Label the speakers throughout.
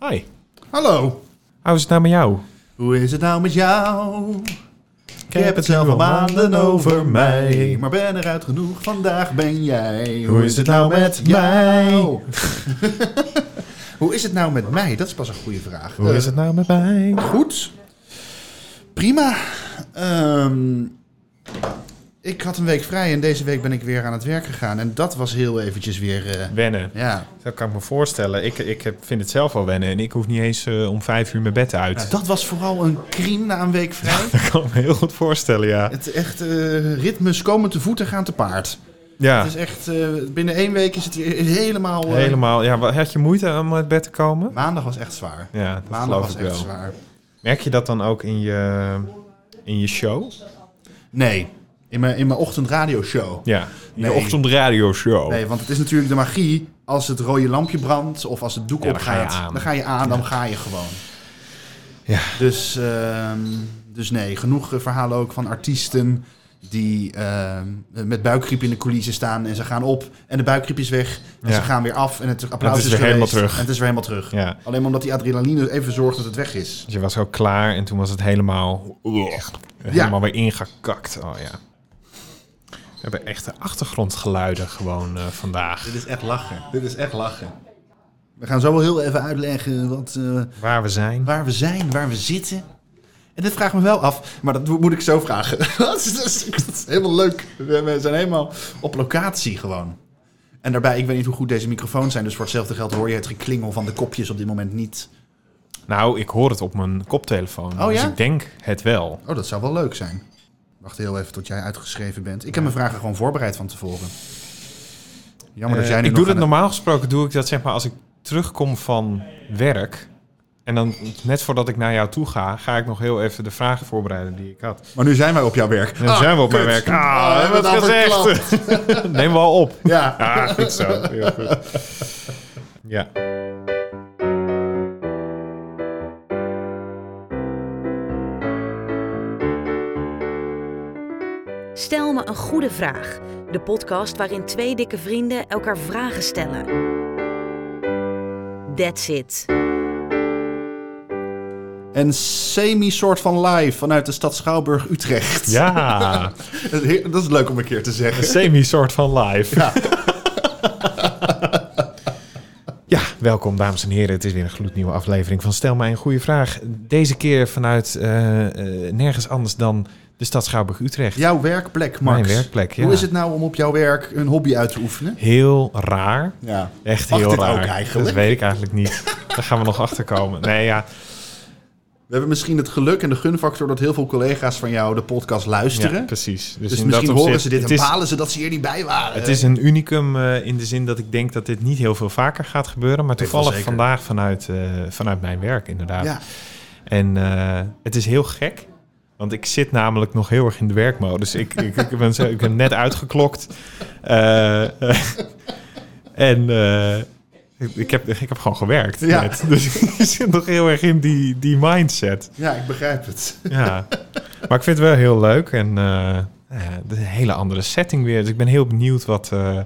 Speaker 1: Hi,
Speaker 2: Hallo.
Speaker 1: hoe is het nou met jou?
Speaker 2: Hoe is het nou met jou? Ik heb het zelf
Speaker 1: nu
Speaker 2: al maanden over mij, maar ben eruit genoeg, vandaag ben jij.
Speaker 1: Hoe is het nou met mij?
Speaker 2: Hoe is het nou met mij? Dat is pas een goede vraag.
Speaker 1: Hoe
Speaker 2: Eh,
Speaker 1: is het nou met mij?
Speaker 2: Goed. Prima. Ehm, ik had een week vrij en deze week ben ik weer aan het werk gegaan. En dat was heel eventjes weer... eh,
Speaker 1: Wennen.
Speaker 2: ja.
Speaker 1: Dat kan ik me voorstellen. Ik, ik heb- vind het zelf al wennen en ik hoef niet eens eh, om vijf uur mijn bed uit.
Speaker 2: Nou, dat was vooral een kriem na een week vrij.
Speaker 1: Dat kan ik me heel goed voorstellen, ja.
Speaker 2: Het echt eh, ritmes komen te voeten gaan te paard.
Speaker 1: Ja,
Speaker 2: Het is echt, eh, binnen één week is het hier helemaal... eh,
Speaker 1: helemaal. Ja, wa- had je moeite om uit bed te komen?
Speaker 2: Maandag was echt zwaar.
Speaker 1: Ja, dat
Speaker 2: Maandag
Speaker 1: geloof
Speaker 2: was
Speaker 1: ik
Speaker 2: echt
Speaker 1: wel.
Speaker 2: zwaar.
Speaker 1: Merk je dat dan ook in je, in je show?
Speaker 2: Nee, in mijn, in mijn ochtendradioshow.
Speaker 1: Ja, in
Speaker 2: Nee.
Speaker 1: je ochtendradioshow.
Speaker 2: Nee, want het is natuurlijk de magie. Als het rode lampje brandt of als het doek
Speaker 1: Ja, dan
Speaker 2: opgaat,
Speaker 1: ga je aan.
Speaker 2: dan ga je aan, dan ga je gewoon.
Speaker 1: Ja.
Speaker 2: Dus, ehm, dus nee, genoeg eh, verhalen ook van artiesten die ehm, met buikgriep in de coulissen staan en ze gaan op en de buikgriep is weg en
Speaker 1: Ja.
Speaker 2: ze gaan weer af en het applaus
Speaker 1: is
Speaker 2: is,
Speaker 1: weer
Speaker 2: geweest
Speaker 1: helemaal terug.
Speaker 2: en het is weer helemaal terug.
Speaker 1: Ja.
Speaker 2: Alleen maar omdat die adrenaline even zorgt dat het weg is.
Speaker 1: Dus je was ook klaar en toen was het helemaal, helemaal weer ingekakt. Oh ja. We hebben echte achtergrondgeluiden gewoon eh, vandaag.
Speaker 2: Dit is echt lachen. Dit is echt lachen. We gaan zo wel heel even uitleggen wat, eh,
Speaker 1: Waar we zijn.
Speaker 2: waar we zijn, waar we zitten. En dit vraagt me wel af, maar dat mo- moet ik zo vragen. dat, is, dat is- dat is helemaal leuk. We we zijn helemaal op locatie gewoon. En daarbij, ik weet niet hoe goed deze microfoons zijn, dus voor hetzelfde geld hoor je het geklingel van de kopjes op dit moment niet.
Speaker 1: Nou, ik hoor het op mijn koptelefoon.
Speaker 2: Oh,
Speaker 1: dus
Speaker 2: ja?
Speaker 1: ik denk het wel.
Speaker 2: Oh, dat zou wel leuk zijn. Wacht heel even tot jij uitgeschreven bent. Ik heb mijn vragen gewoon voorbereid van tevoren. Jammer dat
Speaker 1: Eh,
Speaker 2: jij nu
Speaker 1: ik
Speaker 2: nog
Speaker 1: doe dat
Speaker 2: aan het-
Speaker 1: normaal gesproken doe ik dat zeg maar als ik terugkom van werk. En dan net voordat ik naar jou toe ga, ga ik nog heel even de vragen voorbereiden die ik had.
Speaker 2: Maar nu zijn wij op jouw werk.
Speaker 1: En dan zijn we op mijn werk. Ah, we hebben het gezegd. Neem we al op.
Speaker 2: Ja.
Speaker 1: Ah, goed zo. Heel goed. Ja.
Speaker 3: Stel me een goede vraag. De podcast waarin twee dikke vrienden elkaar vragen stellen. That's it.
Speaker 2: Een semi-soort van live vanuit de stad Schouwburg, Utrecht.
Speaker 1: Ja,
Speaker 2: Dat is heer- dat is leuk om een keer te
Speaker 1: een
Speaker 2: zeggen.
Speaker 1: semi-soort van live.
Speaker 2: Ja.
Speaker 1: Ja. welkom dames en heren. Het is weer een gloednieuwe aflevering van Stel mij een goede vraag. Deze keer vanuit eh, eh, nergens anders dan de stad Schouwburg-Utrecht.
Speaker 2: Jouw werkplek, Max.
Speaker 1: Mijn werkplek, ja.
Speaker 2: Hoe is het nou om op jouw werk een hobby uit te oefenen?
Speaker 1: Heel raar.
Speaker 2: Ja.
Speaker 1: Echt
Speaker 2: Mag
Speaker 1: heel
Speaker 2: dit
Speaker 1: raar.
Speaker 2: ook eigenlijk?
Speaker 1: Dat weet ik eigenlijk niet. Daar gaan we nog achter komen. Nee, ja.
Speaker 2: We hebben misschien het geluk en de gunfactor dat heel veel collega's van jou de podcast luisteren.
Speaker 1: ja precies. Dus,
Speaker 2: dus
Speaker 1: in
Speaker 2: misschien
Speaker 1: dat opzicht-
Speaker 2: horen ze dit
Speaker 1: het
Speaker 2: en
Speaker 1: is,
Speaker 2: balen ze dat ze hier niet bij waren.
Speaker 1: Het is een unicum eh, in de zin dat ik denk dat dit niet heel veel vaker gaat gebeuren. Maar
Speaker 2: Weet wel
Speaker 1: toevallig
Speaker 2: zeker.
Speaker 1: vandaag vanuit, eh, vanuit mijn werk inderdaad.
Speaker 2: ja.
Speaker 1: En eh, het is heel gek. Want ik zit namelijk nog heel erg in de werkmodus. Ik, ik, ik, ben, zo- ik ben net uitgeklokt. Eh, eh, en eh, ik- ik, heb, ik heb gewoon gewerkt.
Speaker 2: Ja.
Speaker 1: net. Dus ik zit nog heel erg in die, die mindset.
Speaker 2: ja, ik begrijp het.
Speaker 1: Ja. Maar ik vind het wel heel leuk. En eh, nou ja, het is een hele andere setting weer. Dus ik ben heel benieuwd wat, eh,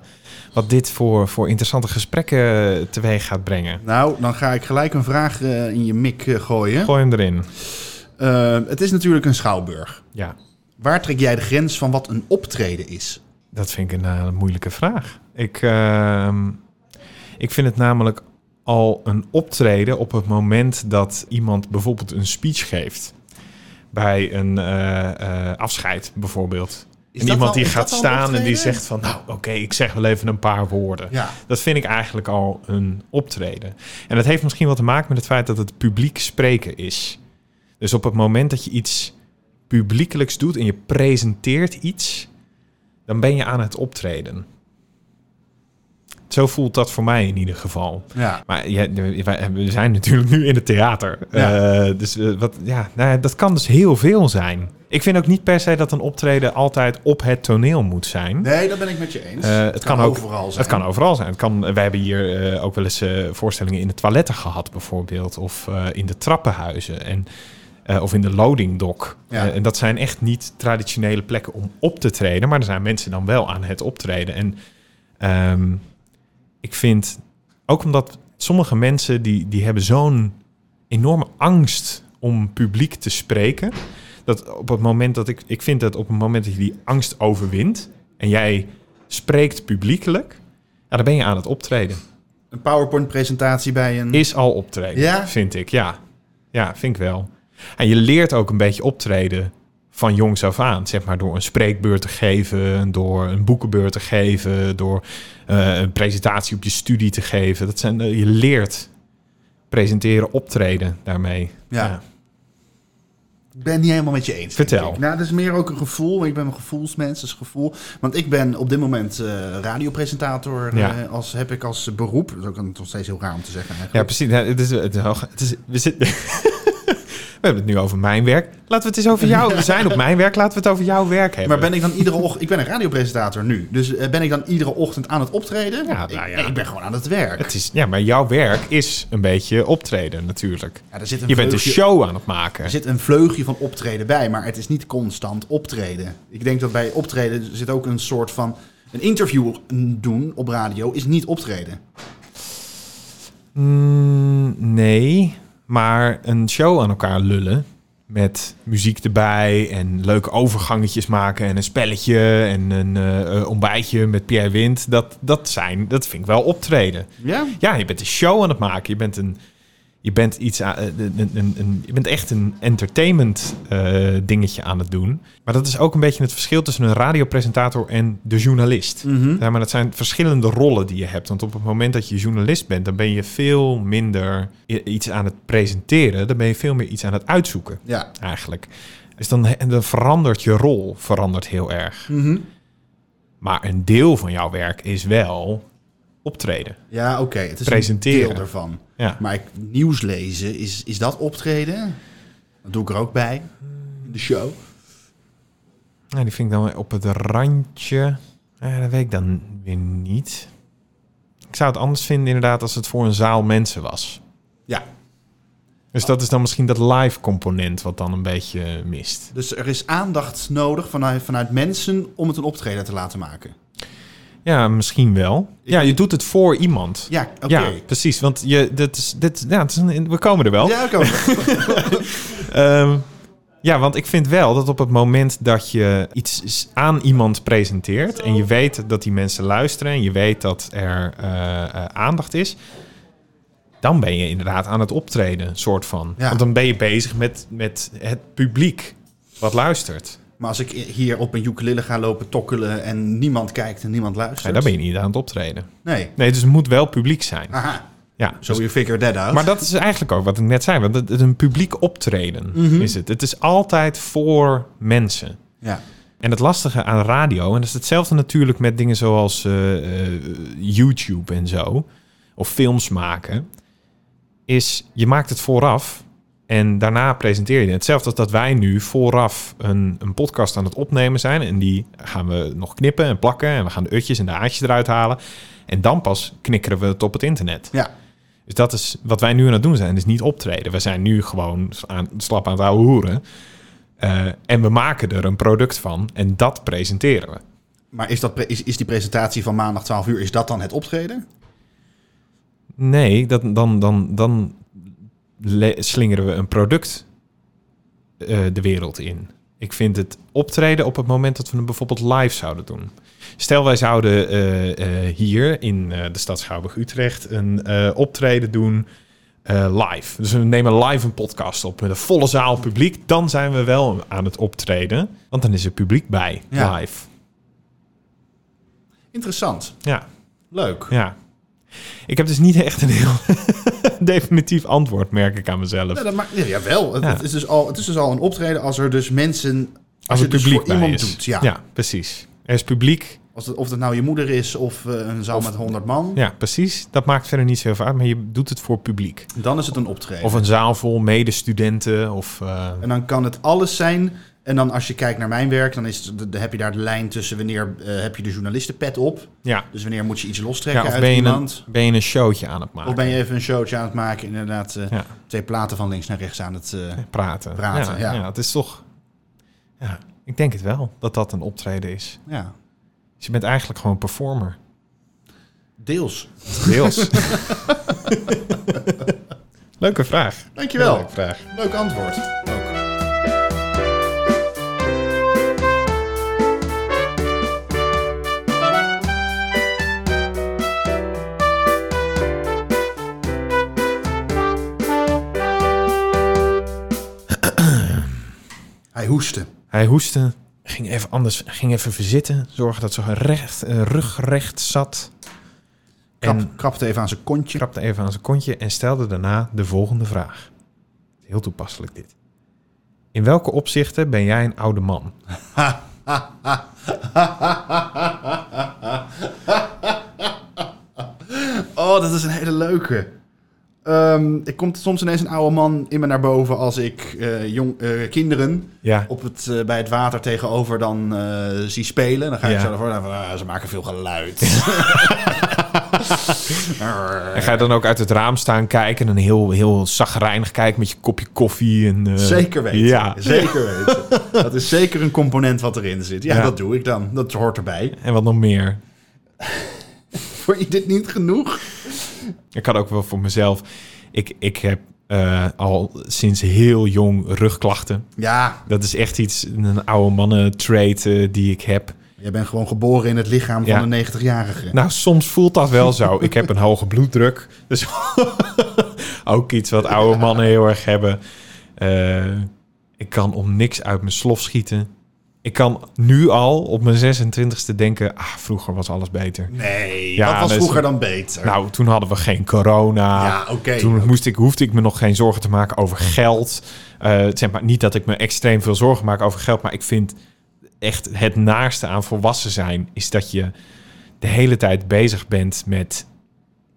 Speaker 1: wat dit voor, voor interessante gesprekken teweeg gaat brengen.
Speaker 2: Nou, dan ga ik gelijk een vraag eh, in je mik eh, gooien.
Speaker 1: Gooi hem erin.
Speaker 2: Eh, het is natuurlijk een schouwburg.
Speaker 1: Ja.
Speaker 2: Waar trek jij de grens van wat een optreden is?
Speaker 1: Dat vind ik een eh, moeilijke vraag. Ik, ehm, ik vind het namelijk al een optreden op het moment dat iemand bijvoorbeeld een speech geeft. Bij een eh, eh, afscheid bijvoorbeeld.
Speaker 2: Is
Speaker 1: en
Speaker 2: dat
Speaker 1: iemand
Speaker 2: al-
Speaker 1: die
Speaker 2: is
Speaker 1: gaat
Speaker 2: dat al een
Speaker 1: staan en die
Speaker 2: optreden?
Speaker 1: zegt van... nou, oké, ik zeg wel even een paar woorden.
Speaker 2: Ja.
Speaker 1: Dat vind ik eigenlijk al een optreden. En dat heeft misschien wat te maken met het feit dat het publiek spreken is. Dus op het moment dat je iets publiekelijks doet en je presenteert iets, dan ben je aan het optreden. Zo voelt dat voor mij in ieder geval.
Speaker 2: Ja.
Speaker 1: Maar ja, wij- we zijn natuurlijk nu in het theater.
Speaker 2: Ja.
Speaker 1: Eh, dus eh, wat, ja, nou, ja, dat kan dus heel veel zijn. Ik vind ook niet per se dat een optreden altijd op het toneel moet zijn.
Speaker 2: Nee, dat ben ik met je eens.
Speaker 1: Eh, het, kan, ook,
Speaker 2: overal zijn.
Speaker 1: het kan overal zijn. Het kan, wij hebben hier eh, ook wel eens eh, voorstellingen in de toiletten gehad, bijvoorbeeld. Of eh, in de trappenhuizen. En, eh, of in de loadingdok.
Speaker 2: Ja.
Speaker 1: Eh, en dat zijn echt niet traditionele plekken om op te treden. Maar er zijn mensen dan wel aan het optreden. En ehm, ik vind, ook omdat sommige mensen die, die hebben zo'n enorme angst om publiek te spreken. Dat op het moment dat ik, ik vind dat op het moment dat je die angst overwint en jij spreekt publiekelijk, ja, dan ben je aan het optreden.
Speaker 2: Een PowerPoint-presentatie bij een...
Speaker 1: Is al optreden,
Speaker 2: Hm. Ja?
Speaker 1: vind ik. Ja. ja, vind ik wel. En je leert ook een beetje optreden van jongs af aan. Zeg maar door een spreekbeurt te geven, door een boekenbeurt te geven, door eh, een presentatie op je studie te geven. Dat zijn, eh, je leert presenteren, optreden daarmee.
Speaker 2: Ja. Ik ben het niet helemaal met je eens.
Speaker 1: Vertel.
Speaker 2: denk ik. Nou, dat is meer ook een gevoel. Ik ben een gevoelsmens, dat is gevoel. Want ik ben op dit moment eh, radiopresentator.
Speaker 1: Ja.
Speaker 2: eh, als, heb ik als beroep. Dat is ook een- nog steeds heel raar om te zeggen
Speaker 1: Ja,
Speaker 2: eigenlijk.
Speaker 1: precies. Ja, het is, het is, het is- we, zitten- we hebben het nu over mijn werk. Laten we het eens over jou. We zijn op mijn werk. Laten we het over jouw werk hebben.
Speaker 2: maar ben ik dan iedere ochtend... Ik ben een radiopresentator nu. Dus eh, ben ik dan iedere ochtend aan het optreden?
Speaker 1: Ja,
Speaker 2: Ik-
Speaker 1: nou ja.
Speaker 2: nee, ik ben gewoon aan het werk.
Speaker 1: het is, ja, maar jouw werk is een beetje optreden natuurlijk.
Speaker 2: Ja, er zit een
Speaker 1: Je bent dus een
Speaker 2: vleugje-
Speaker 1: show aan het
Speaker 2: Er
Speaker 1: maken.
Speaker 2: zit een vleugje van optreden bij, maar het is niet constant optreden. Ik denk dat bij optreden zit ook een soort van... Een interview doen op radio is niet optreden.
Speaker 1: Mm, nee, maar een show aan elkaar lullen. Met muziek erbij en leuke overgangetjes maken en een spelletje en een eh, eh, ontbijtje met Pierre Wind. Dat, dat, zijn, dat vind ik wel optreden.
Speaker 2: Ja?
Speaker 1: Ja, je bent een show aan het maken. Je bent een. Je bent iets aan, eh, een, een, een, een- je bent echt een entertainment eh, dingetje aan het doen. Maar dat is ook een beetje het verschil tussen een radiopresentator en de journalist. Ja, maar dat zijn verschillende rollen die je hebt. Want op het moment dat je journalist bent, dan ben je veel minder i- iets aan het presenteren. Dan ben je veel meer iets aan het uitzoeken,
Speaker 2: Ja.
Speaker 1: eigenlijk. Dus dan, en dan verandert je rol verandert heel erg. Maar een deel van jouw werk is wel optreden.
Speaker 2: Ja, oké. Het is
Speaker 1: Presenteren.
Speaker 2: een deel ervan.
Speaker 1: Ja.
Speaker 2: Maar ik, nieuws lezen, is, is dat optreden? Dat doe ik er ook bij. In de show.
Speaker 1: Nou, die vind ik dan op het randje. Eh, dat weet ik dan weer niet. Ik zou het anders vinden inderdaad als het voor een zaal mensen was.
Speaker 2: Ja.
Speaker 1: Dus dat is dan misschien dat live component wat dan een beetje mist.
Speaker 2: Dus er is aandacht nodig vanuit, vanuit mensen om het een optreden te laten maken.
Speaker 1: Ja, misschien wel. Ja, je doet het voor iemand.
Speaker 2: Ja, oké.
Speaker 1: Ja, Oh. precies. Want je, dit is, dit, ja, het is een, we komen er wel.
Speaker 2: Ja, oké.
Speaker 1: Ehm, ja, want ik vind wel dat op het moment dat je iets s- aan iemand presenteert en je weet dat die mensen luisteren en je weet dat er eh, eh, aandacht is, dan ben je inderdaad aan het optreden, soort van.
Speaker 2: Ja.
Speaker 1: Want dan ben je bezig met, met het publiek wat luistert.
Speaker 2: Maar als ik hier op een ukulele ga lopen tokkelen en niemand kijkt en niemand luistert...
Speaker 1: Ja, dan ben je niet aan het optreden.
Speaker 2: Nee.
Speaker 1: Nee, dus het moet wel publiek zijn.
Speaker 2: Aha.
Speaker 1: Ja, dus-
Speaker 2: So you figure that out.
Speaker 1: Maar dat is eigenlijk ook wat ik net zei. Want het, het- een publiek optreden is het. Het is altijd voor mensen.
Speaker 2: Ja.
Speaker 1: En het lastige aan radio, en dat is hetzelfde natuurlijk met dingen zoals eh, eh, YouTube en zo, of films maken, is je maakt het vooraf en daarna presenteer je het. Hetzelfde als dat wij nu vooraf een, een podcast aan het opnemen zijn en die gaan we nog knippen en plakken en we gaan de utjes en de aatjes eruit halen. En dan pas knikkeren we het op het internet.
Speaker 2: Ja.
Speaker 1: Dus dat is wat wij nu aan het doen zijn, is niet optreden. We zijn nu gewoon aan, slap aan het ouwe hoeren. Eh, en we maken er een product van en dat presenteren we.
Speaker 2: Maar is, dat pre- is, is die presentatie van maandag 12 uur, is dat dan het optreden?
Speaker 1: Nee, dat, dan, dan, dan le- slingeren we een product eh, de wereld in. Ik vind het optreden op het moment dat we hem bijvoorbeeld live zouden doen. Stel, wij zouden eh, eh, hier in eh, de stad Schouwburg-Utrecht een eh, optreden doen eh, live. Dus we nemen live een podcast op met een volle zaal publiek. Dan zijn we wel aan het optreden, want dan is er publiek bij
Speaker 2: Ja.
Speaker 1: live.
Speaker 2: Interessant.
Speaker 1: Ja.
Speaker 2: Leuk.
Speaker 1: Ja. Ik heb dus niet echt een heel definitief antwoord, merk ik aan mezelf.
Speaker 2: Ja, Nou, dat maakt, ja, jawel. Het,
Speaker 1: Ja.
Speaker 2: het is dus al, het is dus al een optreden als er dus mensen...
Speaker 1: als het
Speaker 2: dus
Speaker 1: publiek
Speaker 2: voor
Speaker 1: bij
Speaker 2: iemand
Speaker 1: is.
Speaker 2: doet. Ja.
Speaker 1: precies. Er is publiek.
Speaker 2: Als het, of dat nou je moeder is of eh, een zaal met 100 man.
Speaker 1: Ja, precies. Dat maakt verder niet zoveel uit, maar je doet het voor publiek.
Speaker 2: Dan is het een optreden.
Speaker 1: Of een zaal vol medestudenten. Of, eh,
Speaker 2: En dan kan het alles zijn. En dan als je kijkt naar mijn werk, dan, is het- dan heb je daar de lijn tussen wanneer eh, heb je de journalistenpet op.
Speaker 1: ja.
Speaker 2: Dus wanneer moet je iets
Speaker 1: ja,
Speaker 2: lostrekken
Speaker 1: of
Speaker 2: uit
Speaker 1: ben je, een,
Speaker 2: iemand.
Speaker 1: ben je een showtje aan het maken.
Speaker 2: Of ben je even een showtje aan het maken. Inderdaad, eh,
Speaker 1: Ja.
Speaker 2: twee platen van links naar rechts aan het... eh,
Speaker 1: praten?
Speaker 2: Praten,
Speaker 1: ja,
Speaker 2: ja.
Speaker 1: ja, het is toch... Ja, ik denk het wel, dat dat een optreden is.
Speaker 2: ja.
Speaker 1: Dus je bent eigenlijk gewoon performer.
Speaker 2: Deels.
Speaker 1: Deels. Leuke vraag.
Speaker 2: Dankjewel.
Speaker 1: Leuke vraag.
Speaker 2: Leuk antwoord. Ook. Hij hoestte.
Speaker 1: Hij hoestte, ging even anders, ging even verzitten, zorgde dat zijn recht, eh, rug recht zat.
Speaker 2: Krap,
Speaker 1: En
Speaker 2: krapte even aan zijn kontje.
Speaker 1: krapte even aan zijn kontje en stelde daarna de volgende vraag. Heel toepasselijk dit. In welke opzichten ben jij een oude man?
Speaker 2: Oh, dat is een hele leuke. Ehm ik komt soms ineens een oude man in me naar boven als ik eh, jong, eh, kinderen
Speaker 1: Ja,
Speaker 2: op het, eh, bij het water tegenover dan eh, zie spelen. Dan ga ik
Speaker 1: Ja.
Speaker 2: zo ervoor en van, ah, ze maken veel geluid.
Speaker 1: en ga je dan ook uit het raam staan kijken en een heel, heel zagrijnig kijken met je kopje koffie? En, eh,
Speaker 2: zeker weten.
Speaker 1: Ja,
Speaker 2: Zeker weten. Dat is zeker een component wat erin zit. Ja,
Speaker 1: Ja.
Speaker 2: dat doe ik dan. Dat hoort erbij.
Speaker 1: en wat nog meer.
Speaker 2: Vond je dit niet genoeg?
Speaker 1: Ik had ook wel voor mezelf. Ik, ik heb eh, al sinds heel jong rugklachten.
Speaker 2: Ja,
Speaker 1: Dat is echt iets, een oude mannen trait eh, die ik heb.
Speaker 2: je bent gewoon geboren in het lichaam
Speaker 1: Ja.
Speaker 2: van een 90-jarige.
Speaker 1: Nou, soms voelt dat wel zo. Ik heb een hoge bloeddruk. Dus ook iets wat oude mannen heel erg hebben. Eh, ik kan om niks uit mijn slof schieten. Ik kan nu al op mijn 26e denken... Ah, vroeger was alles beter.
Speaker 2: Nee,
Speaker 1: Ja,
Speaker 2: dat was
Speaker 1: dat is-
Speaker 2: vroeger dan beter.
Speaker 1: Nou, toen hadden we geen corona.
Speaker 2: ja, oké. Hmm.
Speaker 1: Toen moest ik, hoefde ik me nog geen zorgen te maken over geld. Eh, zeg maar, niet dat ik me extreem veel zorgen maak over geld, maar ik vind echt het naaste aan volwassen zijn is dat je de hele tijd bezig bent met,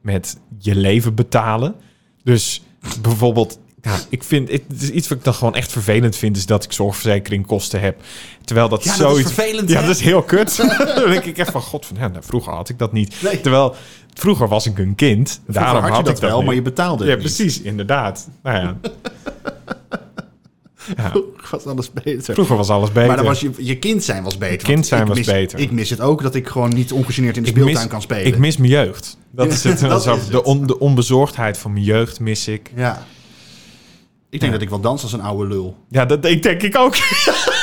Speaker 1: met je leven betalen. Dus bijvoorbeeld, ja, ik vind het is iets wat ik dan gewoon echt vervelend vind, is dat ik zorgverzekeringkosten heb. Terwijl dat
Speaker 2: Ja, dat
Speaker 1: zoiets.
Speaker 2: is vervelend,
Speaker 1: ja,
Speaker 2: hè?
Speaker 1: dat is heel kut. dan denk ik echt van god van, ja, nou, vroeger had ik dat niet.
Speaker 2: Nee.
Speaker 1: Terwijl vroeger was ik een kind.
Speaker 2: Vroeger
Speaker 1: Daarom had,
Speaker 2: je dat
Speaker 1: ik dat
Speaker 2: wel,
Speaker 1: niet.
Speaker 2: maar je betaalde
Speaker 1: Ja,
Speaker 2: het niet.
Speaker 1: precies, inderdaad. Nou ja,
Speaker 2: Vroeger was alles beter.
Speaker 1: vroeger was alles beter.
Speaker 2: Maar dan was je, je kind zijn was beter.
Speaker 1: Kind
Speaker 2: want
Speaker 1: zijn
Speaker 2: ik
Speaker 1: was
Speaker 2: mis-
Speaker 1: beter.
Speaker 2: Ik mis het ook dat ik gewoon niet ongegeneerd in de
Speaker 1: ik
Speaker 2: speeltuin
Speaker 1: mis-
Speaker 2: kan spelen.
Speaker 1: Ik mis mijn jeugd. Dat
Speaker 2: Ja,
Speaker 1: is het. wel
Speaker 2: dat
Speaker 1: zo.
Speaker 2: is het.
Speaker 1: De, on- de onbezorgdheid van mijn jeugd mis ik.
Speaker 2: ja. Ik denk dat ik wel dans als een oude lul.
Speaker 1: Ja, dat denk, denk ik ook.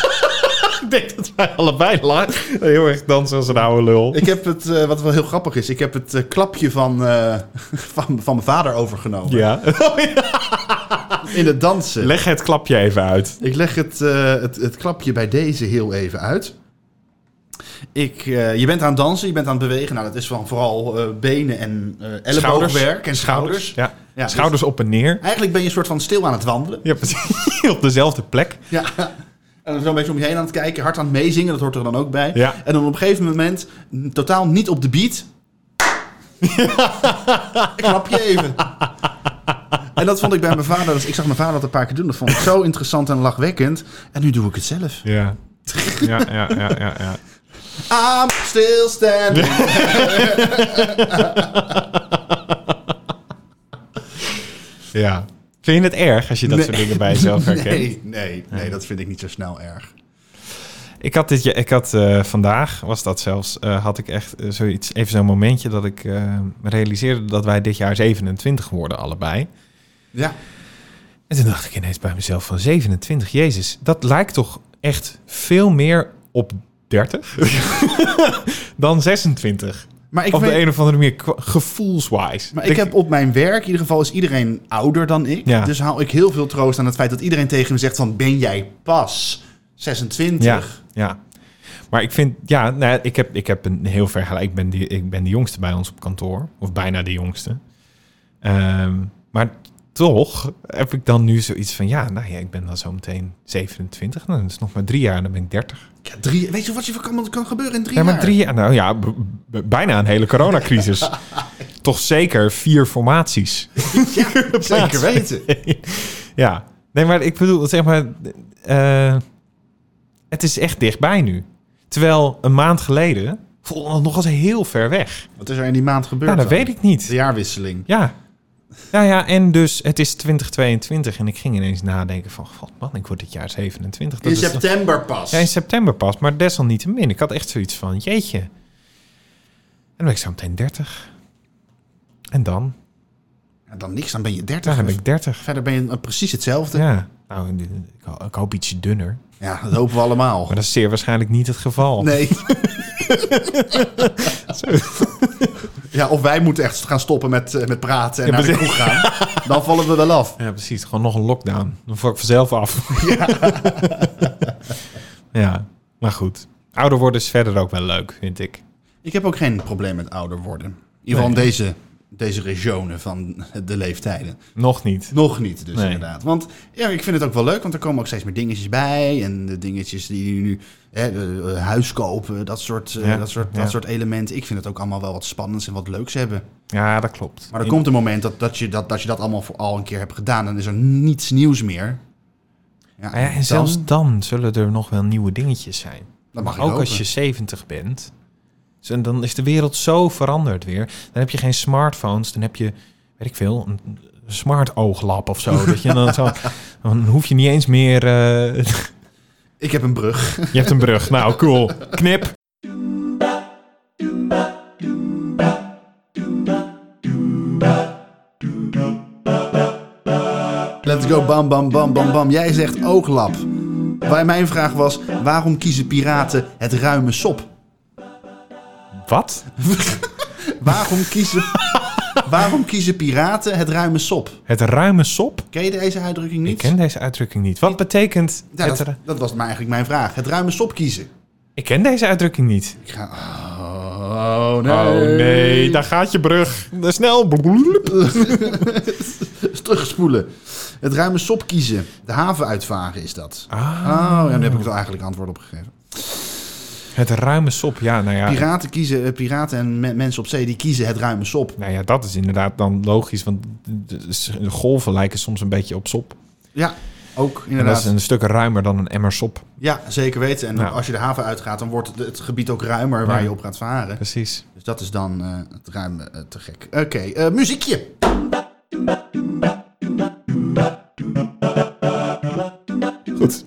Speaker 1: ik denk dat wij allebei la- heel erg dansen als een oude lul.
Speaker 2: Ik heb het, eh, wat wel heel grappig is, ik heb het eh, klapje van, eh, van, van mijn vader overgenomen.
Speaker 1: ja.
Speaker 2: In het dansen.
Speaker 1: Leg het klapje even uit.
Speaker 2: Ik leg het, eh, het, het klapje bij deze heel even uit. Ik, eh, je bent aan het dansen, je bent aan het bewegen. Nou, dat is van vooral eh, benen en eh elleboogwerk en schouders.
Speaker 1: Ja.
Speaker 2: Ja, dus
Speaker 1: Schouders op en neer.
Speaker 2: eigenlijk ben je een soort van stil aan het wandelen.
Speaker 1: Ja, precies. op dezelfde plek.
Speaker 2: Ja. En dan zo'n beetje om je heen aan het kijken, hard aan het meezingen, dat hoort er dan ook bij.
Speaker 1: Ja.
Speaker 2: En dan op een gegeven moment, n- totaal niet op de beat. Ik knap je even. En dat vond ik bij mijn vader, dus ik zag mijn vader dat een paar keer doen. Dat vond ik zo interessant en lachwekkend. En nu doe ik het zelf.
Speaker 1: Ja. Ja, ja, ja, ja, ja.
Speaker 2: I'm still standing.
Speaker 1: ja. Vind je het erg als je dat
Speaker 2: Nee.
Speaker 1: soort dingen bij jezelf herkent?
Speaker 2: Nee, nee, nee, dat vind ik niet zo snel erg.
Speaker 1: Ik had dit, ja- ik had eh, vandaag, was dat zelfs, eh, had ik echt eh, zoiets, even zo'n momentje dat ik eh, realiseerde dat wij dit jaar 27 worden allebei.
Speaker 2: Ja,
Speaker 1: En toen dacht ik ineens bij mezelf van 27, jezus, dat lijkt toch echt veel meer op 30 dan 26.
Speaker 2: maar ik,
Speaker 1: op de
Speaker 2: weet-
Speaker 1: een of andere manier, qua- gevoelswise.
Speaker 2: maar ik heb op mijn werk, in ieder geval is iedereen ouder dan ik.
Speaker 1: Ja.
Speaker 2: Dus haal ik heel veel troost aan het feit dat iedereen tegen me zegt van... ben jij pas 26?
Speaker 1: Ja, ja. Maar ik vind, ja, nou, ja, ik, heb, ik heb een heel vergelijk. Ik ben, die, ik ben de jongste bij ons op kantoor. Of bijna de jongste. Ehm, maar toch heb ik dan nu zoiets van, ja, nou ja, ik ben dan zo meteen 27. Nou, dat is nog maar drie jaar, dan ben ik 30.
Speaker 2: Ja, drie, weet je wat je voor kan, kan gebeuren in drie
Speaker 1: Ja, maar
Speaker 2: jaar?
Speaker 1: drie jaar, nou ja, b- b- bijna een hele coronacrisis. toch zeker vier formaties.
Speaker 2: Ja, zeker weten.
Speaker 1: ja, nee, maar ik bedoel, zeg maar, eh, het is echt dichtbij nu. Terwijl een maand geleden voelde het nog als heel ver weg.
Speaker 2: Wat is er in die maand gebeurd
Speaker 1: Nou, dat
Speaker 2: dan?
Speaker 1: weet ik niet.
Speaker 2: De jaarwisseling.
Speaker 1: Ja. Nou ja, en dus het is 2022 en ik ging ineens nadenken van, god man, ik word dit jaar 27. Dat
Speaker 2: in
Speaker 1: is nog-
Speaker 2: september pas.
Speaker 1: ja, in september pas, maar desalniettemin. Ik had echt zoiets van, jeetje. En dan ben ik zo meteen 30. En dan?
Speaker 2: Ja, dan niks, dan ben je
Speaker 1: Ja,
Speaker 2: 30.
Speaker 1: dan ben ik 30.
Speaker 2: Verder ben je eh, precies hetzelfde. Ja.
Speaker 1: Ja. Nou, ik ho- ik hoop ietsje dunner.
Speaker 2: dat hopen we allemaal.
Speaker 1: Maar dat is zeer waarschijnlijk niet het geval.
Speaker 2: Nee. ja, of wij moeten echt gaan stoppen met, eh, met praten en
Speaker 1: Ja,
Speaker 2: naar de
Speaker 1: precies.
Speaker 2: kroeg gaan. Dan vallen we wel af.
Speaker 1: Ja, precies. Gewoon nog een lockdown. Dan val ik vanzelf af. Ja. maar goed. Ouder worden is verder ook wel leuk, vind ik.
Speaker 2: Ik heb ook geen probleem met ouder worden. In ieder geval
Speaker 1: Nee.
Speaker 2: in deze, deze regionen van de leeftijden.
Speaker 1: Nog niet.
Speaker 2: Nog niet dus
Speaker 1: Nee.
Speaker 2: inderdaad. Want ja, ik vind het ook wel leuk, want er komen ook steeds meer dingetjes bij. En de dingetjes die je nu hè, eh, huis kopen, dat soort, eh,
Speaker 1: Ja,
Speaker 2: dat, soort,
Speaker 1: ja.
Speaker 2: dat soort elementen. Ik vind het ook allemaal wel wat spannends en wat leuks hebben.
Speaker 1: Ja, dat klopt.
Speaker 2: Maar er komt een moment dat, dat, je, dat, dat je dat allemaal voor al een keer hebt gedaan. Dan is er niets nieuws meer. Ja,
Speaker 1: Nou ja, en
Speaker 2: dan-
Speaker 1: zelfs dan zullen er nog wel nieuwe dingetjes zijn.
Speaker 2: dat
Speaker 1: Maar
Speaker 2: mag ik
Speaker 1: ook als je
Speaker 2: hopen.
Speaker 1: 70 bent, zo- dan is de wereld zo veranderd weer. Dan heb je geen smartphones, dan heb je, weet ik veel, een een smart ooglap of zo. dat je dan, zo dan hoef je niet eens meer... eh,
Speaker 2: Ik heb een brug.
Speaker 1: je hebt een brug. Nou, cool. Knip.
Speaker 2: Let's go, bam, bam, bam, bam, bam. Jij zegt ooglap. Waar mijn vraag was, waarom kiezen piraten het ruime sop?
Speaker 1: Wat?
Speaker 2: Waarom kiezen, waarom kiezen piraten het ruime sop?
Speaker 1: Het ruime sop?
Speaker 2: Ken je deze uitdrukking niet?
Speaker 1: Ik ken deze uitdrukking niet. Wat betekent
Speaker 2: Ja,
Speaker 1: het...
Speaker 2: dat,
Speaker 1: ru-
Speaker 2: dat was maar eigenlijk mijn vraag. Het ruime sop kiezen.
Speaker 1: Ik ken deze uitdrukking niet.
Speaker 2: Ik ga... Oh, nee.
Speaker 1: Oh nee, daar gaat je brug. Snel.
Speaker 2: Dus Terugspoelen. Het ruime sop kiezen. De haven uitvagen is dat.
Speaker 1: Ah.
Speaker 2: Oh, ja, daar heb ik er eigenlijk antwoord op gegeven.
Speaker 1: Het ruime sop, ja, nou ja.
Speaker 2: Piraten, kiezen, eh, piraten en me- mensen op zee die kiezen het ruime sop.
Speaker 1: Nou ja, dat is inderdaad dan logisch, want de de golven lijken soms een beetje op sop.
Speaker 2: Ja, ook
Speaker 1: En dat
Speaker 2: inderdaad.
Speaker 1: is een stuk ruimer dan een emmer sop.
Speaker 2: Ja, zeker weten. En
Speaker 1: Ja.
Speaker 2: als je de haven uitgaat, dan wordt het, het gebied ook ruimer waar
Speaker 1: Ja.
Speaker 2: je op gaat varen.
Speaker 1: Precies.
Speaker 2: Dus dat is dan eh, het ruim eh, te gek. Oké, eh, muziekje.
Speaker 1: Goed.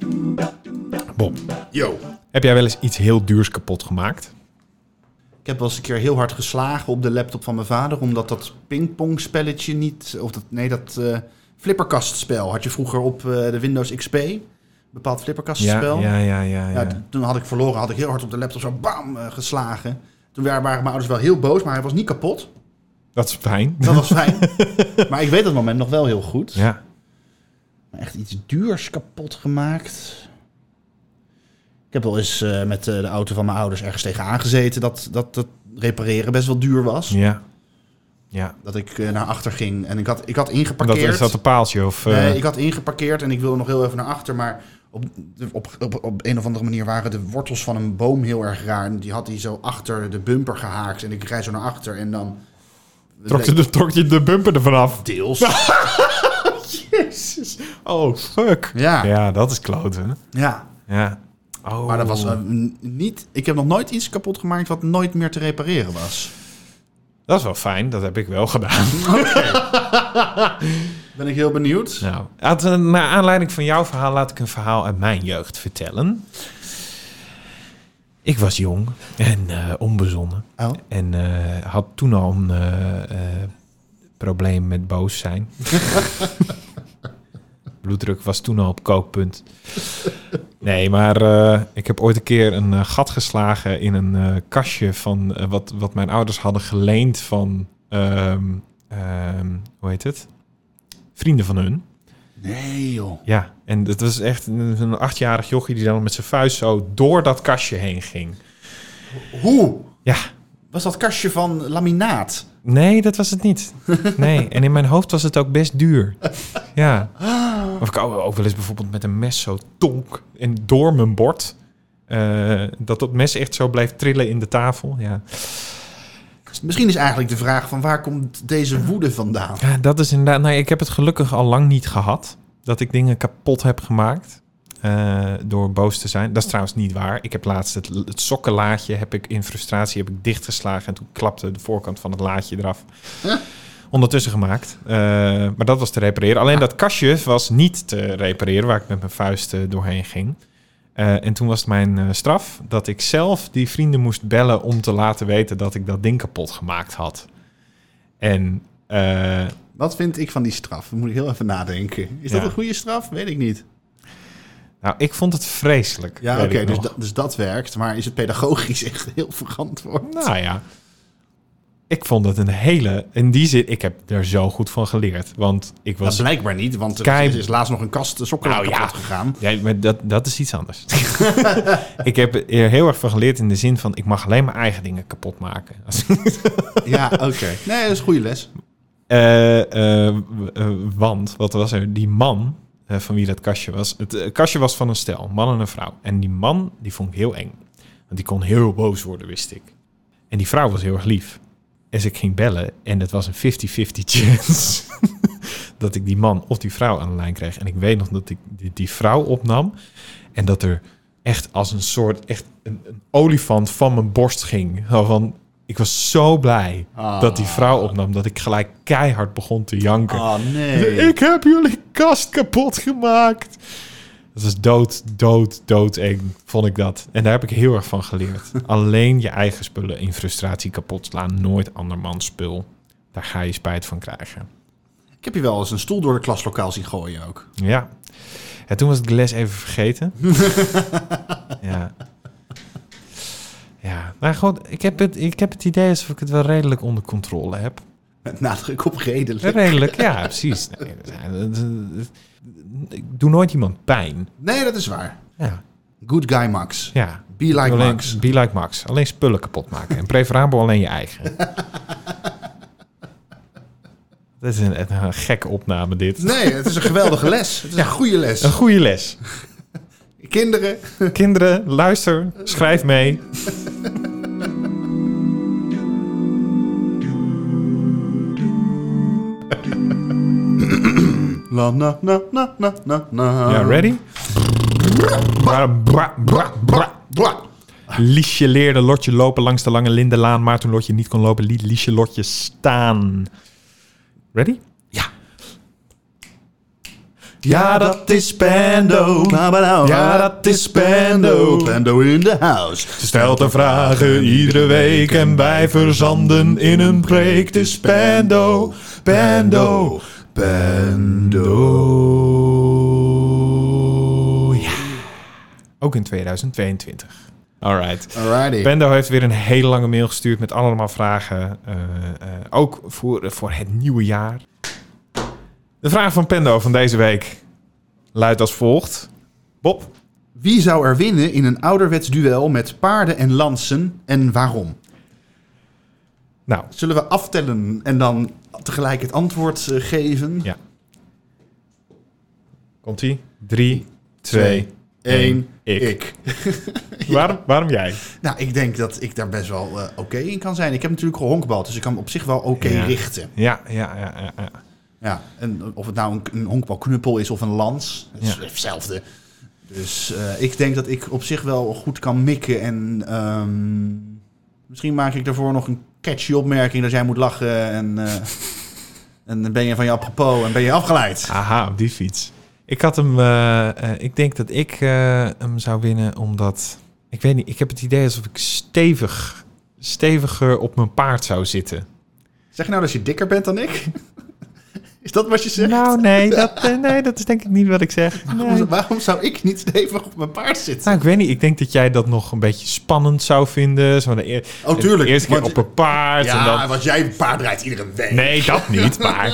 Speaker 1: Bob,
Speaker 2: Yo.
Speaker 1: heb jij wel eens iets heel duurs kapot gemaakt?
Speaker 2: Ik heb wel eens een keer heel hard geslagen op de laptop van mijn vader, omdat dat pingpongspelletje niet, of dat, nee, dat eh, flipperkastspel had je vroeger op eh, de Windows XP. Een bepaald flipperkastspel.
Speaker 1: ja, ja, ja.
Speaker 2: Ja,
Speaker 1: ja.
Speaker 2: t- toen had ik verloren, had ik heel hard op de laptop zo bam eh, geslagen. Toen waren waren mijn ouders wel heel boos, maar hij was niet kapot.
Speaker 1: Dat is fijn.
Speaker 2: Dat was fijn. maar ik weet dat moment nog wel heel goed.
Speaker 1: Ja.
Speaker 2: Maar echt iets duurs kapot gemaakt. Ik heb wel eens eh, met eh, de auto van mijn ouders ergens tegenaan gezeten dat, dat dat repareren best wel duur was.
Speaker 1: Ja. Ja.
Speaker 2: Dat ik eh, naar achter ging en ik had, ik had
Speaker 1: Dat,
Speaker 2: ingeparkeerd.
Speaker 1: is dat een paaltje of... eh,
Speaker 2: Nee, ik had ingeparkeerd en ik wilde nog heel even naar achter, maar op, de- op, op, op een of andere manier waren de wortels van een boom heel erg raar. En die had hij zo achter de bumper gehaakt en ik rijd zo naar achter en dan...
Speaker 1: Dus trok, je de, trok je de bumper ervan af?
Speaker 2: Deels.
Speaker 1: Jezus. Oh, fuck.
Speaker 2: Ja, ja.
Speaker 1: Ja, dat is kloten. Ja. Oh.
Speaker 2: Maar dat was eh, n- niet... Ik heb nog nooit iets kapot gemaakt wat nooit meer te repareren was.
Speaker 1: Dat is wel fijn, dat heb ik wel gedaan.
Speaker 2: Ben ik heel benieuwd.
Speaker 1: Nou, uit- eh, naar aanleiding van jouw verhaal laat ik een verhaal uit mijn jeugd vertellen. Ik was jong en eh, onbezonnen.
Speaker 2: Oh.
Speaker 1: En eh, had toen al een eh, eh, probleem met boos zijn. Bloeddruk was toen al op kookpunt. Nee, maar eh, ik heb ooit een keer een eh, gat geslagen in een eh, kastje van eh, wat, wat mijn ouders hadden geleend van, ehm, ehm, hoe heet het? Vrienden van hun.
Speaker 2: Nee joh.
Speaker 1: Ja, en dat was echt een een achtjarig jochie die dan met zijn vuist zo door dat kastje heen ging.
Speaker 2: Hoe?
Speaker 1: Ja,
Speaker 2: Was dat kastje van laminaat?
Speaker 1: nee, dat was het niet. Nee, en in mijn hoofd was het ook best duur. Ja. Of ik ook ook wel eens bijvoorbeeld met een mes zo tonk en door mijn bord. eh, dat dat mes echt zo blijft trillen in de tafel. Ja.
Speaker 2: Misschien is eigenlijk de vraag van waar komt deze woede vandaan?
Speaker 1: ja, dat is inderdaad. Nou, ik heb het gelukkig al lang niet gehad. Dat ik dingen kapot heb gemaakt. eh, door boos te zijn. Dat is trouwens niet waar. Ik heb laatst het, het sokkenlaadje heb ik in frustratie heb ik dichtgeslagen. En toen klapte de voorkant van het laadje eraf. Ondertussen gemaakt. Eh, maar dat was te repareren. Alleen dat kastje was niet te repareren. Waar ik met mijn vuist eh, doorheen ging. Eh, en toen was mijn eh, straf dat ik zelf die vrienden moest bellen om te laten weten dat ik dat ding kapot gemaakt had. En Eh,
Speaker 2: Wat vind ik van die straf? Daar moet ik heel even nadenken. Is dat
Speaker 1: Ja.
Speaker 2: een goede straf? Weet ik niet.
Speaker 1: nou, ik vond het vreselijk.
Speaker 2: Ja, oké,
Speaker 1: weet ik
Speaker 2: dus,
Speaker 1: nog.
Speaker 2: da- dus dat werkt. Maar is het pedagogisch echt heel verantwoord?
Speaker 1: Nou ja. Ik vond het een hele... In die zin, ik heb er zo goed van geleerd. Want ik
Speaker 2: Dat
Speaker 1: was...
Speaker 2: blijkbaar niet, want er
Speaker 1: Kei-
Speaker 2: is laatst nog een kast sokken
Speaker 1: Nou, ja.
Speaker 2: kapot gegaan.
Speaker 1: Ja, maar dat, dat is iets anders. ik heb er heel erg van geleerd in de zin van... ik mag alleen mijn eigen dingen kapot maken.
Speaker 2: Ja, oké. Nee, dat is een goede les.
Speaker 1: Eh, eh, w- eh, want, wat was er? Die man eh, van wie dat kastje was... Het eh, kastje was van een stel, een man en een vrouw. En die man, die vond ik heel eng. Want die kon heel boos worden, wist ik. En die vrouw was heel erg lief. Dus ik ging bellen en het was een 50-50 chance... dat ik die man of die vrouw aan de lijn kreeg. En ik weet nog dat ik die, die vrouw opnam... en dat er echt als een soort... echt een, een olifant van mijn borst ging. Zo Van, ik was zo blij
Speaker 2: Ah.
Speaker 1: dat die vrouw opnam... dat ik gelijk keihard begon te janken.
Speaker 2: Oh, nee.
Speaker 1: Ik heb jullie kast kapot gemaakt. Dat is dood, dood, dood eng, vond ik dat. En daar heb ik heel erg van geleerd. Alleen je eigen spullen in frustratie kapot slaan. Nooit andermans spul. Daar ga je spijt van krijgen.
Speaker 2: Ik heb je wel eens een stoel door het klaslokaal zien gooien ook.
Speaker 1: Ja. En toen was ik de les even vergeten. ja. Ja, maar goed, ik heb, het, ik heb het idee alsof ik het wel redelijk onder controle heb.
Speaker 2: Met nadruk op redelijk.
Speaker 1: Redelijk, ja, precies. Nee, dat zijn- dat- dat- dat- ik doe nooit iemand pijn.
Speaker 2: Nee, dat is waar.
Speaker 1: Ja,
Speaker 2: Good guy Max.
Speaker 1: ja.
Speaker 2: Be like
Speaker 1: alleen,
Speaker 2: Max.
Speaker 1: Be like Max. Alleen spullen kapot maken. En preferabel alleen je eigen. Dat is een, een, een gekke opname, dit.
Speaker 2: Nee, het is een geweldige les. Het is een goede les.
Speaker 1: Een goede les.
Speaker 2: Kinderen,
Speaker 1: Kinderen, luister, schrijf mee.
Speaker 2: La na na na na na na.
Speaker 1: Ja, ready? Bra, bra, bra, bra.
Speaker 2: Bla.
Speaker 1: Liesje leerde Lotje lopen langs de lange Lindenlaan, maar toen Lotje niet kon lopen, liet Liesje Lotje staan. Ready?
Speaker 2: Ja. Ja, dat is Pando. Ja, dat is Pando. Pando in the house.
Speaker 1: Ze stelt de vragen iedere week en wij verzanden in een preek. Het is Pando, Pando.
Speaker 2: Pando. Ja.
Speaker 1: Ook in 2022. Alright.
Speaker 2: Alrighty.
Speaker 1: Pendo heeft weer een hele lange mail gestuurd met allemaal vragen. eh, eh, ook voor, voor het nieuwe jaar. De vraag van Pendo van deze week luidt als volgt. Bob,
Speaker 2: Wie zou er winnen in een ouderwets duel met paarden en lansen en waarom?
Speaker 1: nou,
Speaker 2: Zullen we aftellen en dan tegelijk het antwoord eh, geven?
Speaker 1: Ja. komt-ie. Drie, twee,
Speaker 2: Eén,
Speaker 1: ik.
Speaker 2: ik.
Speaker 1: Waarom, waarom jij?
Speaker 2: Nou, ik denk dat ik daar best wel eh, oké in kan zijn. Ik heb natuurlijk gehonkbald, dus ik kan me op zich wel oké
Speaker 1: Ja.
Speaker 2: richten.
Speaker 1: Ja, ja, ja, ja, ja.
Speaker 2: Ja, en of het nou een, een honkbalknuppel is of een lans, het is
Speaker 1: Ja.
Speaker 2: hetzelfde. Dus eh, ik denk dat ik op zich wel goed kan mikken. En ehm, misschien maak ik daarvoor nog een catchy opmerking dat jij moet lachen. En, eh, en dan ben je van je apropos en ben je afgeleid.
Speaker 1: Aha, op die fiets. Ik had hem. eh, eh, ik denk dat ik eh, hem zou winnen, omdat ik weet niet. Ik heb het idee alsof ik stevig, steviger op mijn paard zou zitten.
Speaker 2: Zeg je nou dat je dikker bent dan ik? Is dat wat je zegt?
Speaker 1: Nou, nee, dat, eh, nee, dat is denk ik niet wat ik zeg. Nee.
Speaker 2: Waarom- Waarom zou ik niet stevig op mijn paard zitten?
Speaker 1: Nou, ik weet niet. Ik denk dat jij dat nog een beetje spannend zou vinden. Zo de eer-
Speaker 2: Oh, tuurlijk,
Speaker 1: De eerste keer
Speaker 2: want-
Speaker 1: op een paard. en
Speaker 2: Ja,
Speaker 1: dan,
Speaker 2: want jij paard rijdt iedere week.
Speaker 1: Nee, dat niet. Maar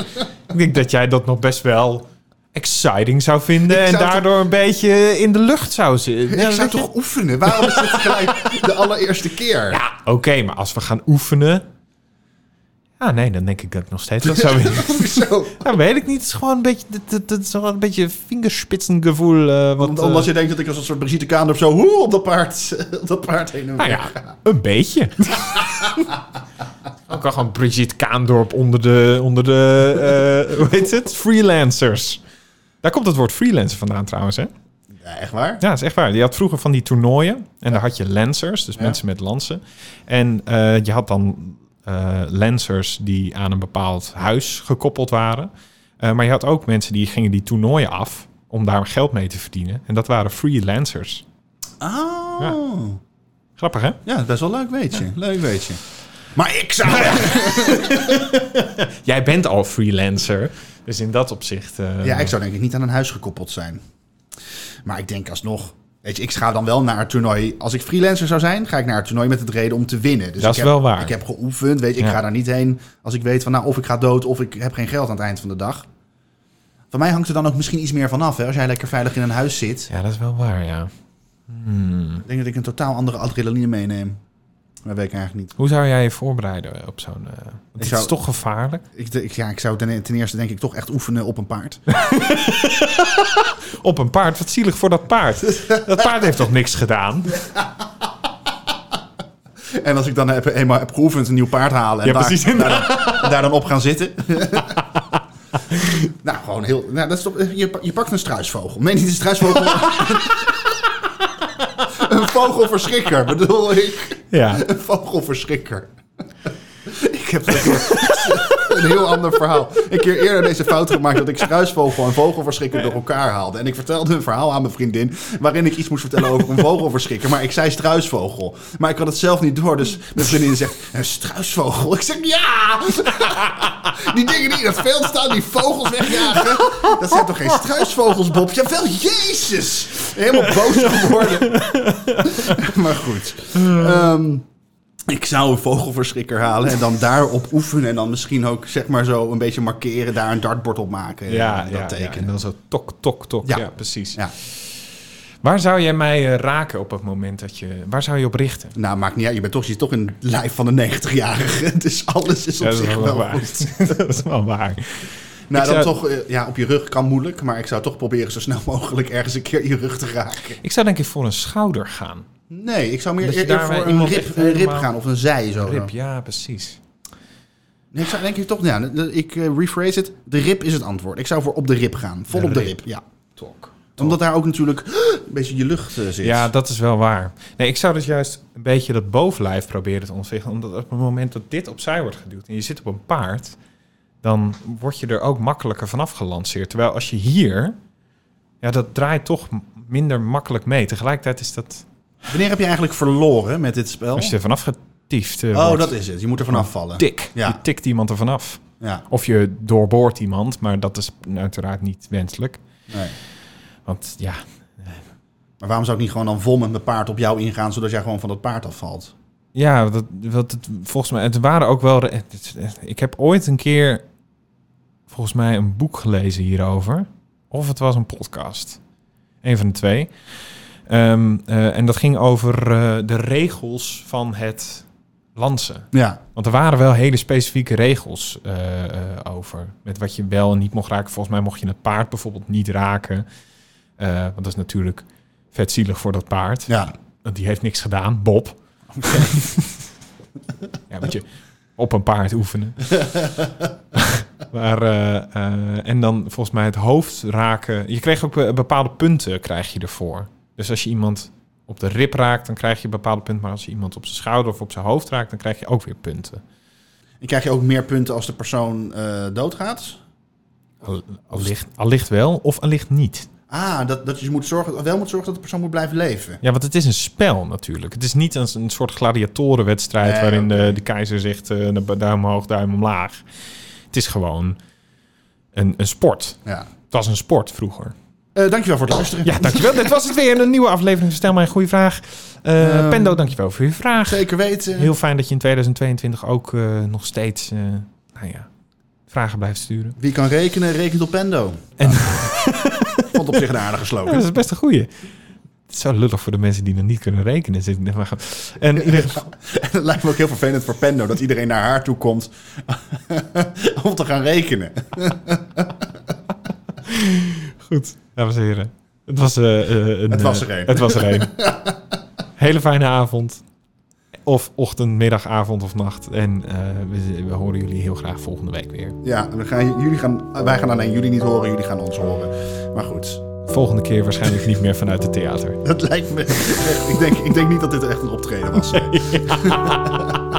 Speaker 1: ik denk dat jij dat nog best wel exciting zou vinden. en
Speaker 2: zou toch-
Speaker 1: daardoor een beetje in de lucht zou zitten.
Speaker 2: ik zou toch oefenen? Waarom is het gelijk de allereerste keer?
Speaker 1: Ja, oké, maar als we gaan oefenen. Ja, nee, dan denk ik dat ik nog steeds dat zou winnen.
Speaker 2: Hoezo?
Speaker 1: Nou, weet ik niet. Het is gewoon een beetje. Dat, dat, dat is wel een beetje vingerspitsengevoel. eh wat,
Speaker 2: Om- Omdat
Speaker 1: eh,
Speaker 2: je denkt dat ik als een soort Brigitte Kaandorp zo hoe op dat paard, op dat paard heen en
Speaker 1: Nou
Speaker 2: weer
Speaker 1: ja,
Speaker 2: ga.
Speaker 1: een beetje. Ook al gewoon Brigitte Kaandorp onder de. Onder de eh, hoe heet het? Freelancers. Daar komt het woord freelancer vandaan trouwens, hè?
Speaker 2: Ja, echt waar?
Speaker 1: Ja, dat is echt waar. Je had vroeger van die toernooien. En daar had je lancers, dus mensen met lansen. En eh, je had dan eh lancers die aan een bepaald huis gekoppeld waren. Eh, maar je had ook mensen die gingen die toernooien af om daar geld mee te verdienen. En dat waren freelancers.
Speaker 2: Oh.
Speaker 1: Grappig, hè?
Speaker 2: Ja, best wel leuk weet je. Leuk weet je. Maar ik zou...
Speaker 1: Jij bent al freelancer. Dus in dat opzicht. eh,
Speaker 2: Ja, ik zou denk ik niet aan een huis gekoppeld zijn. Maar ik denk alsnog... Weet je, ik ga dan wel naar het toernooi... Als ik freelancer zou zijn, ga ik naar het toernooi met het reden om te winnen. Dus
Speaker 1: Dat is
Speaker 2: ik heb,
Speaker 1: wel waar.
Speaker 2: Ik heb geoefend, weet je. Ik
Speaker 1: Ja.
Speaker 2: ga daar niet heen als ik weet van... Nou, of ik ga dood of ik heb geen geld aan het eind van de dag. Van mij hangt er dan ook misschien iets meer van af. Hè? Als jij lekker veilig in een huis zit...
Speaker 1: ja, dat is wel waar, ja. Hmm.
Speaker 2: Ik denk dat ik een totaal andere adrenaline meeneem. Dat weet ik eigenlijk niet.
Speaker 1: Hoe zou jij je voorbereiden op zo'n... eh, want het
Speaker 2: zou-
Speaker 1: is toch gevaarlijk?
Speaker 2: Ik, de- ik- ja, ik zou ten, ten eerste denk ik toch echt oefenen op een paard.
Speaker 1: Op een paard? Wat zielig voor dat paard. Dat paard heeft toch niks gedaan?
Speaker 2: En als ik dan heb, eenmaal heb geoefend, een nieuw paard halen. En
Speaker 1: Ja,
Speaker 2: daar,
Speaker 1: precies.
Speaker 2: Daar, dan- daar dan op gaan zitten. nou, gewoon heel... Nou, dat is toch, je, pa- je pakt een struisvogel. Nee, niet een struisvogel. een vogelverschrikker, bedoel ik.
Speaker 1: Ja.
Speaker 2: Een vogelverschrikker. ik heb dat een heel ander verhaal. Een keer eerder deze fout gemaakt dat ik struisvogel en vogelverschrikker door elkaar haalde. En ik vertelde een verhaal aan mijn vriendin waarin ik iets moest vertellen over een vogelverschrikker. Maar ik zei struisvogel. Maar ik had het zelf niet door. Dus mijn vriendin zegt, een struisvogel? Ik zeg, ja! Die dingen die in het veld staan, die vogels wegjagen. Dat zijn toch geen struisvogels, Bob? Jawel, jezus! Helemaal boos geworden. Maar goed. Ehm, ik zou een vogelverschrikker halen en dan daarop oefenen. En dan misschien ook zeg maar zo een beetje markeren, daar een dartbord op maken. Eh,
Speaker 1: Ja,
Speaker 2: en
Speaker 1: ja, ja. En dan zo tok, tok, tok.
Speaker 2: Ja.
Speaker 1: Ja, precies.
Speaker 2: Ja.
Speaker 1: Waar zou jij mij eh, raken op het moment dat je... Waar zou je op richten?
Speaker 2: Nou, maakt niet uit. Je bent toch, je zit toch in het lijf van een 90-jarige. Dus alles is op
Speaker 1: Ja, dat, is
Speaker 2: zich
Speaker 1: wel
Speaker 2: wel
Speaker 1: waar.
Speaker 2: goed.
Speaker 1: dat is wel waar.
Speaker 2: Nou,
Speaker 1: Ik
Speaker 2: dan
Speaker 1: zou-
Speaker 2: toch, eh, ja, op je rug kan moeilijk. Maar ik zou toch proberen zo snel mogelijk ergens een keer je rug te raken.
Speaker 1: Ik zou denk ik voor een schouder gaan.
Speaker 2: Nee, ik zou meer
Speaker 1: Dat je
Speaker 2: eer- eer
Speaker 1: daar
Speaker 2: voor een
Speaker 1: iemand
Speaker 2: rib,
Speaker 1: echt
Speaker 2: een rib
Speaker 1: helemaal-
Speaker 2: gaan of een zij. Zo.
Speaker 1: Een rib, ja, precies.
Speaker 2: Nee, ik zou denk ik toch, ja, ik eh, rephrase het. De rib is het antwoord. Ik zou voor op de rib gaan. Vol
Speaker 1: De
Speaker 2: op de
Speaker 1: rib.
Speaker 2: rib, ja.
Speaker 1: Tok.
Speaker 2: Omdat daar ook natuurlijk een beetje je lucht eh, zit.
Speaker 1: Ja, dat is wel waar. Nee, ik zou dus juist een beetje dat bovenlijf proberen te ontwikkelen. Omdat op het moment dat dit opzij wordt geduwd en je zit op een paard, dan word je er ook makkelijker vanaf gelanceerd. Terwijl als je hier, ja, dat draait toch m- minder makkelijk mee. Tegelijkertijd is dat,
Speaker 2: Wanneer heb je eigenlijk verloren met dit spel?
Speaker 1: als je er vanaf getiefd eh,
Speaker 2: Oh,
Speaker 1: wordt,
Speaker 2: dat is het. Je moet er vanaf vallen.
Speaker 1: tik.
Speaker 2: Ja.
Speaker 1: Je tikt iemand er vanaf.
Speaker 2: Ja,
Speaker 1: Of je doorboort iemand, maar dat is uiteraard niet wenselijk.
Speaker 2: nee.
Speaker 1: Want ja,
Speaker 2: Maar waarom zou ik niet gewoon dan vol met mijn paard op jou ingaan, zodat jij gewoon van dat paard afvalt?
Speaker 1: Ja, dat, wat het, volgens mij, het waren ook wel. het- het- het- Ik heb ooit een keer, volgens mij, een boek gelezen hierover. Of het was een podcast. Een van de twee. Ehm, eh, en dat ging over eh, de regels van het lansen.
Speaker 2: Ja.
Speaker 1: Want er waren wel hele specifieke regels eh, eh, over. Met wat je wel en niet mocht raken. Volgens mij mocht je het paard bijvoorbeeld niet raken. Eh, want dat is natuurlijk vetzielig voor dat paard.
Speaker 2: Ja.
Speaker 1: Want die heeft niks gedaan, Bob. ja, moet je op een paard oefenen. maar, eh, eh, en dan volgens mij het hoofd raken. Je kreeg ook eh, bepaalde punten krijg je ervoor. Dus als je iemand op de rib raakt, dan krijg je bepaalde punten. Maar als je iemand op zijn schouder of op zijn hoofd raakt, dan krijg je ook weer punten.
Speaker 2: En krijg je ook meer punten als de persoon eh, doodgaat?
Speaker 1: Dus Al- Allicht, allicht wel of allicht niet.
Speaker 2: Ah, dat, dat je moet zorgen, wel moet zorgen dat de persoon moet blijven leven.
Speaker 1: Ja, want het is een spel natuurlijk. Het is niet een, een soort gladiatorenwedstrijd
Speaker 2: Nee,
Speaker 1: waarin
Speaker 2: oké.
Speaker 1: de, de keizer zegt eh, naar bu- duim omhoog, duim omlaag. Het is gewoon een, een sport.
Speaker 2: Ja.
Speaker 1: Het was een sport vroeger.
Speaker 2: Eh, dankjewel voor het luisteren.
Speaker 1: Ja, dankjewel. Dit was het weer. Een nieuwe aflevering. van Stel mij een goede vraag. Eh Pendo, dankjewel voor je vraag.
Speaker 2: Zeker weten.
Speaker 1: Heel fijn dat je in 2022 ook eh, nog steeds eh, nou ja, vragen blijft sturen.
Speaker 2: Wie kan rekenen, rekent op Pendo. Ah.
Speaker 1: En-
Speaker 2: Vond op zich een aardige
Speaker 1: Ja, dat
Speaker 2: slogan.
Speaker 1: is best een goeie. Het is zo lullig voor de mensen die nog niet kunnen rekenen. Zit ik net maar- En in ieder geval...
Speaker 2: En dat lijkt me ook heel vervelend voor Pendo, dat iedereen naar haar toe komt om te gaan rekenen.
Speaker 1: Goed, dames en heren. Het was, eh, eh, een,
Speaker 2: Het was er
Speaker 1: eh,
Speaker 2: een.
Speaker 1: Het was er een. Hele fijne avond. Of ochtend, middag, avond of nacht. En eh, we, we horen jullie heel graag volgende week weer.
Speaker 2: Ja, we gaan, jullie gaan, wij gaan alleen jullie niet horen, jullie gaan ons horen. Maar goed,
Speaker 1: Volgende keer waarschijnlijk niet meer vanuit het theater.
Speaker 2: dat lijkt me. Ik denk, ik denk niet dat dit echt een optreden was.